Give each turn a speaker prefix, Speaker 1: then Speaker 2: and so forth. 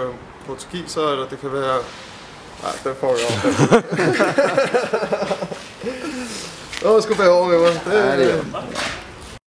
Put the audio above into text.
Speaker 1: øh, portugiser, eller det kan være... Nej, den får jeg op. Åh, sgu bære over med mig. Det,
Speaker 2: Ja, det er
Speaker 1: øh,